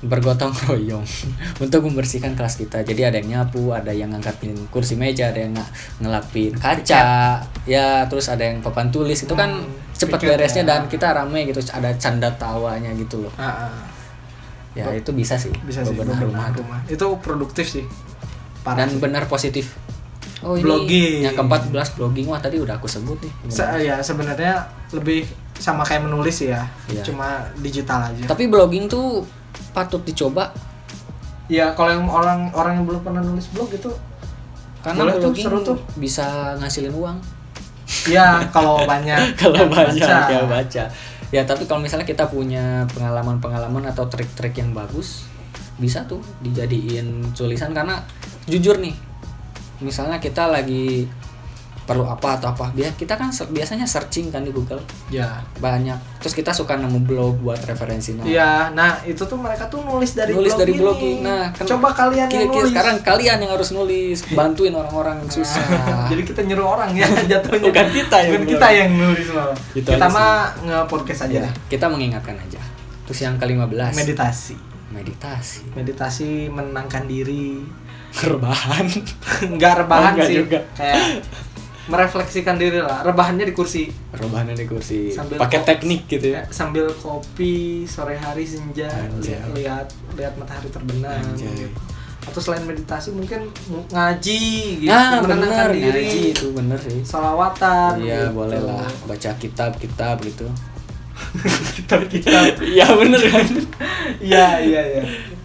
bergotong royong untuk membersihkan kelas kita jadi ada yang nyapu ada yang ngangkatin kursi meja ada yang nga- ngelapin kaca ya terus ada yang papan tulis itu kan
Hmm,
cepet
piket
beresnya
ya.
dan kita rame gitu ada canda tawanya gitu loh
Ah, ah.
ya itu bisa sih
bisa sih
bebenah
bebenah
rumah tuh.
rumah itu produktif sih
dan
parah sih.
benar positif oh ini
Blogging.
yang keempat belas blogging wah tadi udah aku sebut nih
Se- ya sebenarnya lebih sama kayak menulis ya
Iya.
cuma digital aja
tapi blogging tuh patut dicoba
ya kalau yang orang orang yang belum pernah nulis blog itu
karena
Boleh tuh,
blogging
seru tuh.
bisa ngasilin uang
ya kalau banyak
kalau
yang
banyak
baca.
ya baca ya tapi kalau misalnya kita punya pengalaman-pengalaman atau trik-trik yang bagus bisa tuh dijadiin tulisan karena jujur nih misalnya kita lagi perlu apa atau apa biar kita kan se- biasanya searching kan di Google
ya
banyak terus kita suka nemu blog buat referensi nah
Iya, nah itu tuh mereka tuh nulis dari
nulis
blog
dari
ini.
blogging nah kan-
coba kalian yang
kira-kira
nulis. Nah,
sekarang kalian yang harus nulis bantuin orang-orang yang susah
Jadi kita nyuruh orang ya jatuhnya.
Bukan kita yang
Bukan
nulis.
kita yang nulis malah.
Gitu
kita
aja sih.
mah nge-podcast aja
Ya,
deh.
kita mengingatkan aja terus yang ke-15
Meditasi.
meditasi
Meditasi menenangkan diri.
kerbahan
Enggak rebahan
Oh, nggak
sih.
juga.
Kayak merefleksikan diri lah rebahannya di kursi
rebahannya di kursi
Sambil
pakai
kok-
teknik gitu ya
Ya, sambil kopi sore hari senja
Anjay.
lihat lihat matahari terbenam gitu.
Anjay.
atau selain meditasi mungkin mu- ngaji gitu
Nah,
menenangkan
bener,
diri
ngaji itu bener sih.
salawatan
Iya,
gitu.
boleh lah baca kitab-kitab gitu.
kita kita
Iya, bener kan?
iya iya iya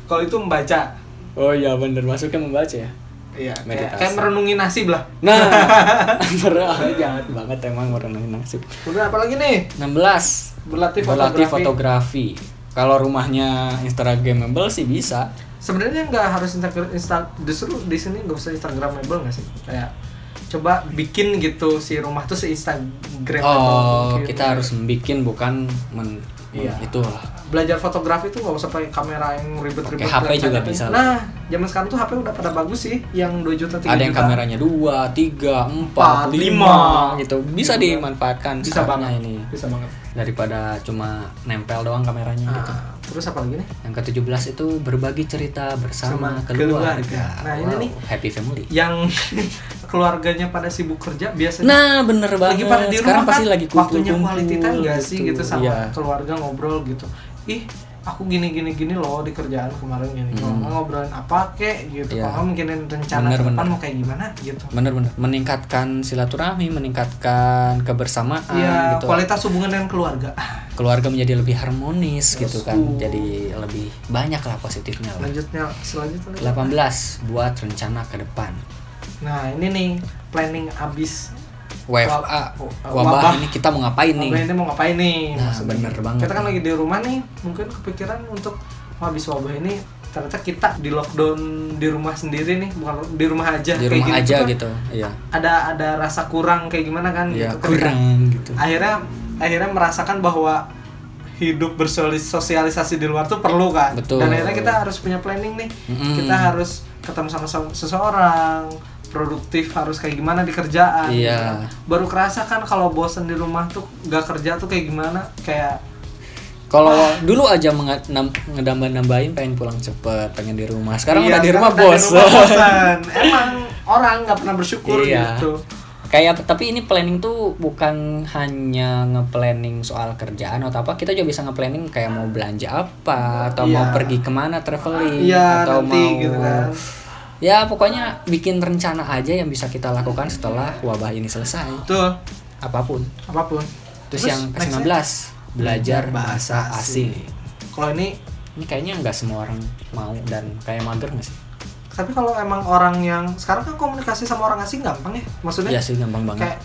kalau itu membaca
Oh iya, bener masuknya membaca ya.
iya kayak,
Meditasi.
kayak merenungi nasib lah
Nah, bener Ah, jahat banget emang orang nasib.
udah apalagi nih
16.
berlatih fotografi.
Berlatih fotografi. Kalau rumahnya Instagramable sih bisa.
sebenarnya nggak harus Instagram insta justru di sini nggak usah Instagramable nggak sih kayak coba bikin gitu si rumah tuh se Instagramable
Oh,
mungkin.
kita harus bikin bukan men, men-
Iya.
itulah.
belajar fotografi tuh nggak usah pakai kamera yang ribet-ribet
Pakai HP
kelihatan
juga
apa.
bisa lah.
nah zaman sekarang tuh HP udah pada bagus sih yang 2 juta 3
Ada yang
juta.
kameranya 2, 3, 4, 5
lima.
gitu. Bisa
Iya,
dimanfaatkan
bisa
saatnya
banget
ini
bisa banget
daripada cuma nempel doang kameranya gitu.
Ah, terus apa lagi nih
Yang ke-17 itu berbagi cerita bersama
Sama
keluarga.
keluarga. Nah, ini nih.
happy family.
yang keluarganya pada sibuk kerja biasanya
Nah, bener banget.
lagi pada di
Sekarang
rumah
pasti
kan
lagi kumpul
waktunya quality time nggak sih gitu sama
Iya.
keluarga ngobrol gitu ih aku gini gini gini loh di kerjaan kemarin gini kalau nggak ngobrolin apa kek gitu
Hmm. Iya.
kalau nggak mikirin rencana
Bener,
ke depan
bener.
mau kayak gimana gitu
Bener-bener meningkatkan silaturahmi, meningkatkan kebersamaan
Iya,
gitu.
kualitas hubungan dengan keluarga.
Keluarga menjadi lebih harmonis gitu kan.
Betul.
Jadi lebih banyak lah positifnya lah.
Lanjutnya selanjutnya.
18 buat rencana ke depan.
Nah ini nih planning abis
WFA,
Wa-
ah, wabah,
wabah.
ini kita mau ngapain nih?
wabah ini mau ngapain nih?
Nah,
maksudnya.
bener banget.
Kita kan lagi di rumah nih, mungkin kepikiran untuk "Wah, abis wabah ini ternyata kita di lockdown di rumah sendiri nih, bukan di rumah aja.
Di
Kayak
rumah
gitu
aja
kan
gitu. Iya.
Ada ada rasa kurang kayak gimana kan?
Iya,
gitu. Ketika
kurang gitu.
Akhirnya akhirnya merasakan bahwa hidup bersosialisasi di luar tuh perlu kan
Betul.
dan akhirnya kita harus punya planning nih
Mm-mm.
kita harus ketemu sama se- seseorang produktif harus kayak gimana di kerjaan
Iya.
gitu kan. baru kerasa kan kalau bosen di rumah tuh gak kerja tuh kayak gimana kayak
Kalau dulu aja menga- nam- ngedambah-nambahin pengen pulang cepet, pengen di rumah. Sekarang
Iya,
udah di rumah
sekarang udah di rumah
bosan.
bosen. emang orang nggak pernah bersyukur
Iya.
gitu
Kayak tapi ini planning tuh bukan hanya nge-planning soal kerjaan atau apa, kita juga bisa nge-planning kayak mau belanja apa atau mau
Iya.
pergi kemana traveling
iya
Hmm, atau
nanti
mau
gitu kan
Ya pokoknya bikin rencana aja yang bisa kita lakukan setelah wabah ini selesai.
betul
Apapun.
apapun ya.
Terus, yang
next-nya,
ke-19 belajar bahasa asing.
kalau ini
Ini kayaknya nggak semua orang mau dan kayak mager nggak sih?
tapi kalau emang orang yang sekarang kan komunikasi sama orang asing gampang ya maksudnya
Iya sih gampang banget.
kayak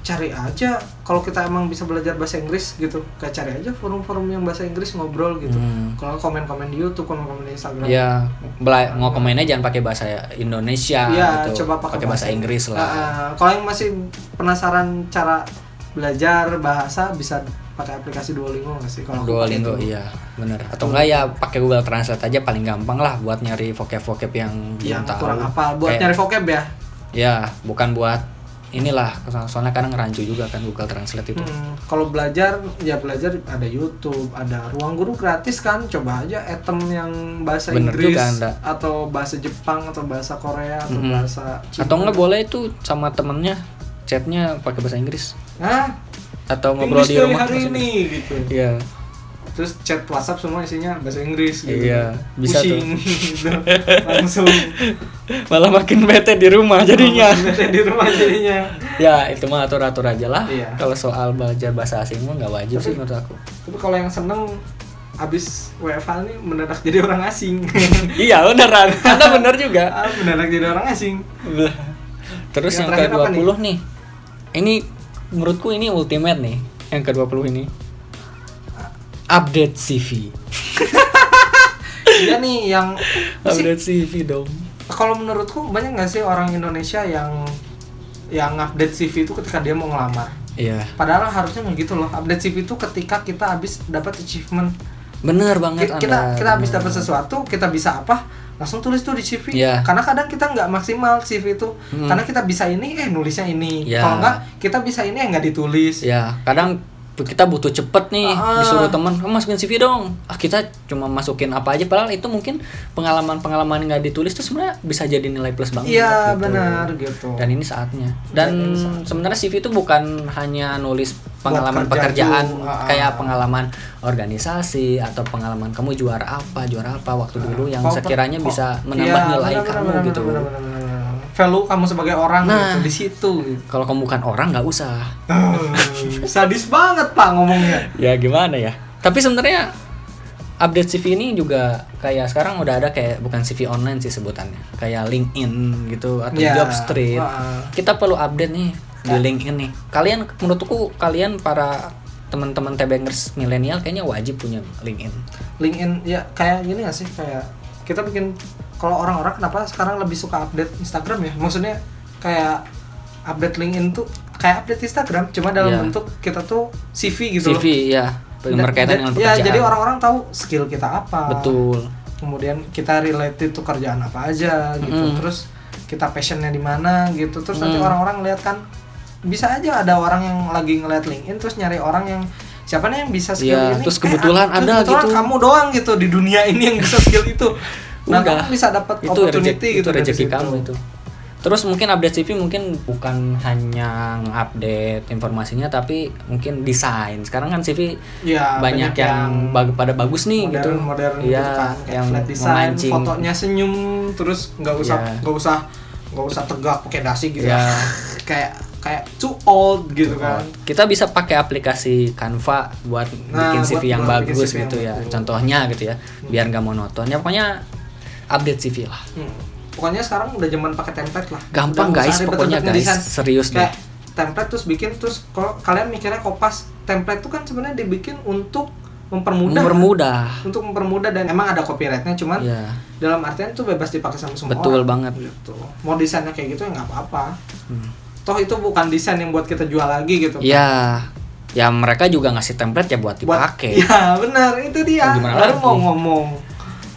cari aja kalau kita emang bisa belajar bahasa Inggris gitu kayak cari aja forum-forum yang bahasa Inggris ngobrol gitu
Hmm.
kalau komen-komen di YouTube komen-komen di Instagram
Ya, bela- mau komennya jangan pakai bahasa Indonesia
Iya,
gitu.
coba pakai
bahasa Inggris lah.
Ah, ah. kalau yang masih penasaran cara belajar bahasa bisa pakai aplikasi Duolingo nggak sih kalau gitu. aku pakai
Duolingo
itu.
iya, bener. Atau enggak ya pakai Google Translate aja paling gampang lah buat nyari vocab-vocab yang
yang
belum tahu.
kurang apa buat
Kayak-
nyari vocab ya
Ya, bukan buat inilah soalnya kadang rancu juga kan Google Translate itu.
Hmm, kalau belajar ya belajar ada YouTube, ada ruang guru gratis kan. Coba aja item yang bahasa
Bener
Inggris
juga, Anda.
atau bahasa Jepang atau bahasa Korea atau
Mm-mm.
bahasa Cina.
Atau enggak boleh itu sama temennya chatnya pakai bahasa Inggris
Hah?
atau ngobrol
Inggris
di
dari
rumah
hari
bahasa
ini
Inggris.
gitu.
Iya.
Terus chat WhatsApp semua isinya bahasa Inggris gitu.
Iya, bisa tuh.
Pusing gitu. Langsung
Malah makin bete di rumah jadinya.
di rumah jadinya.
Oh, ya, itu mah atur-atur aja lah.
Iya.
Kalau soal belajar bahasa asing mah nggak wajib sih menurut aku.
Tapi kalau yang seneng abis WFH nih mendadak jadi orang asing.
iya, beneran. Karena bener juga.
Ah, mendadak jadi orang asing.
Terus
Yang
yang,
terakhir apa
ke-20 nih? Ini menurutku ini ultimate nih. Yang ke-20 ini. Update CV.
Iya nih yang sih
Update CV dong.
kalau menurutku banyak nggak sih orang Indonesia yang yang update CV itu ketika dia mau ngelamar
Iya.
padahal harusnya nggak gitu loh update CV itu ketika kita habis dapat achievement
Bener banget
Ki- kita
Anda.
kita habis
Bener.
dapat sesuatu kita bisa apa langsung tulis tuh di CV
Iya.
karena kadang kita nggak maksimal CV itu
Hmm.
karena kita bisa ini eh nulisnya ini
Iya.
kalau nggak kita bisa ini eh nggak ditulis
Ya, kadang kita butuh cepet nih
Ah.
disuruh teman "Kamu masukin CV dong ah kita cuma masukin apa aja padahal itu mungkin pengalaman pengalaman nggak ditulis tuh sebenarnya bisa jadi nilai plus banget
Iya
gitu.
benar Iya, gitu.
dan ini saatnya dan sebenarnya CV itu bukan hanya nulis
Wah,
pengalaman
kerja
pekerjaan
tuh, ah, ah.
kayak pengalaman organisasi atau pengalaman kamu juara apa juara apa waktu dulu yang
Kau per-
sekiranya
kau- Ah.
bisa
Iya,
menambah nilai
benar,
kamu
benar,
gitu
benar, benar, benar, benar. Value kamu sebagai orang
Nah.
gitu di situ. gitu.
kalau kamu bukan orang nggak usah
Sadis banget pak ngomongnya.
ya gimana ya tapi sebenarnya update CV ini juga kayak sekarang udah ada kayak bukan CV online sih sebutannya kayak LinkedIn gitu atau
Ya,
Jobstreet
ah.
kita perlu update nih di LinkedIn nih kalian menurutku kalian para teman-teman tebengers milenial kayaknya wajib punya LinkedIn
LinkedIn ya kayak gini gak sih kayak kita bikin kalau orang-orang kenapa sekarang lebih suka update Instagram ya? Maksudnya kayak update LinkedIn tuh kayak update Instagram cuma dalam
Iya.
bentuk kita tuh CV gitu loh.
CV ya
Dan-
berkaitan
dan-
dengan pekerjaan
Ya jadi orang-orang tahu skill kita apa.
betul
kemudian kita related tuh kerjaan apa aja gitu
Mm.
terus kita passionnya di mana gitu terus nanti
Mm.
orang-orang lihat kan bisa aja ada orang yang lagi ngeliat LinkedIn terus nyari orang yang siapa nih yang bisa skill
Iya,
ini Eh, ah,
terus kebetulan
terus
ada
kebetulan
gitu.
kamu doang gitu di dunia ini yang bisa skill itu nah
Udah.
kamu bisa dapat
itu
opportunity
rezeki
gitu
itu
dari
rezeki
situ.
kamu itu terus mungkin update CV mungkin bukan hanya update informasinya tapi mungkin desain sekarang kan CV
Iya,
banyak, yang, bag- pada bagus nih gitu
modern modern
Iya,
gitu kan kayak
yang
flat design
memancing.
fotonya senyum terus nggak usah
Iya.
nggak usah nggak usah tegak pakai dasi gitu
Iya.
kayak kayak too old gitu kan
Oh, kita bisa pakai aplikasi Canva buat
Nah,
bikin
buat-
CV yang
buat bikin
bagus
CV yang
gitu ya
bagus.
contohnya gitu ya biar nggak monoton ya pokoknya update CV lah
Hmm. pokoknya sekarang udah zaman pakai template lah Udah
Gampang,
nggak
guys.
usah ribet-ribet
Pokoknya, guys.
ngedesain.
Serius
kayak template terus bikin terus kalau kalian mikirnya kopas template tuh kan sebenarnya dibikin untuk mempermudah kan?
mempermudah
untuk mempermudah dan emang ada copyrightnya cuman
ya
dalam artian tuh bebas dipakai sama semua
betul
orang.
banget Hmm.
gitu mau desainnya kayak gitu ya nggak apa-apa toh itu bukan desain yang buat kita jual lagi gitu
ya ya mereka juga ngasih template ya buat
buat
dipakai Kan
ya benar itu dia
Gimana
baru
lagi?
mau ngomong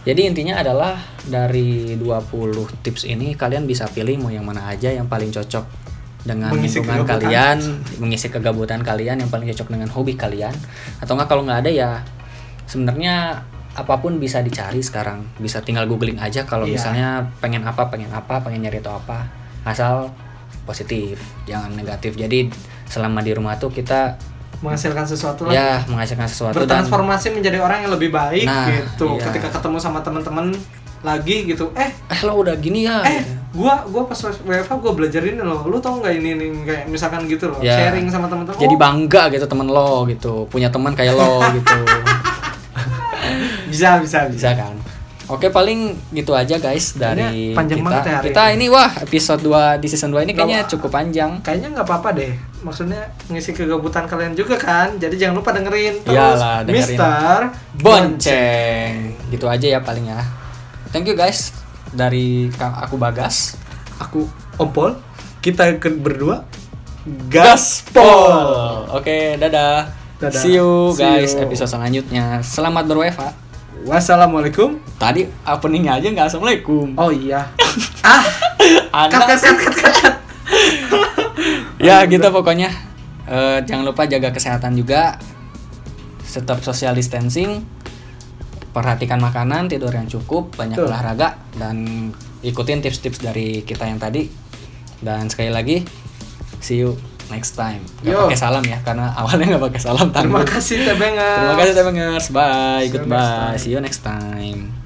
Jadi intinya adalah dari 20 tips ini kalian bisa pilih mau yang mana aja yang paling cocok dengan
Mengisi
lingkungan
kegabutan.
kalian, mengisi kegabutan kalian yang paling cocok dengan hobi kalian. Atau enggak kalau nggak ada ya sebenarnya apapun bisa dicari sekarang. Bisa tinggal googling aja kalau
Iya.
misalnya pengen apa, pengen apa, pengen nyari itu apa. Asal positif, jangan negatif. Jadi selama di rumah tuh kita
menghasilkan sesuatu lah
ya menghasilkan sesuatu dan
bertransformasi menjadi orang yang lebih baik
Nah,
gitu
iya.
ketika ketemu sama teman-teman lagi gitu eh
eh lo udah gini ya.
eh
gitu.
gua gua pas WFH gua belajar ini loh lu tau nggak ini, ini kayak misalkan gitu loh
Ya.
sharing sama teman-teman
jadi
Oh,
bangga gitu temen lo gitu punya teman kayak lo gitu
bisa bisa bisa
bisa kan oke paling gitu aja guys dari
Kayaknya panjang
kita
banget ya hari
kita
ini.
ini wah episode 2 di season 2 ini kayaknya
Gak-
cukup panjang
kayaknya nggak apa-apa deh maksudnya ngisi kegabutan kalian juga kan jadi jangan lupa dengerin terus
Iyalah, dengerin.
Mister
bonceng gitu aja ya paling ya thank you guys dari Kang aku Bagas
aku Ompol kita ke- berdua Gaspol
Gaspol oke dadah.
Dadah.
see you
See
guys
you.
episode selanjutnya selamat berwefa
Wassalamualaikum
tadi openingnya aja nggak assalamualaikum
Oh iya Ah
Anda-
cut, cut, cut, cut, cut, cut.
ya gitu pokoknya Eh, jangan lupa jaga kesehatan juga tetap social distancing perhatikan makanan tidur yang cukup banyak
Betul.
olahraga dan ikutin tips-tips dari kita yang tadi dan sekali lagi see you next time nggak
Yo.
pakai salam ya karena awalnya nggak pakai salam
Terima
tanggung.
kasih Tebengers
terima kasih Tebengers bye
See you next
goodbye
time.
see you next time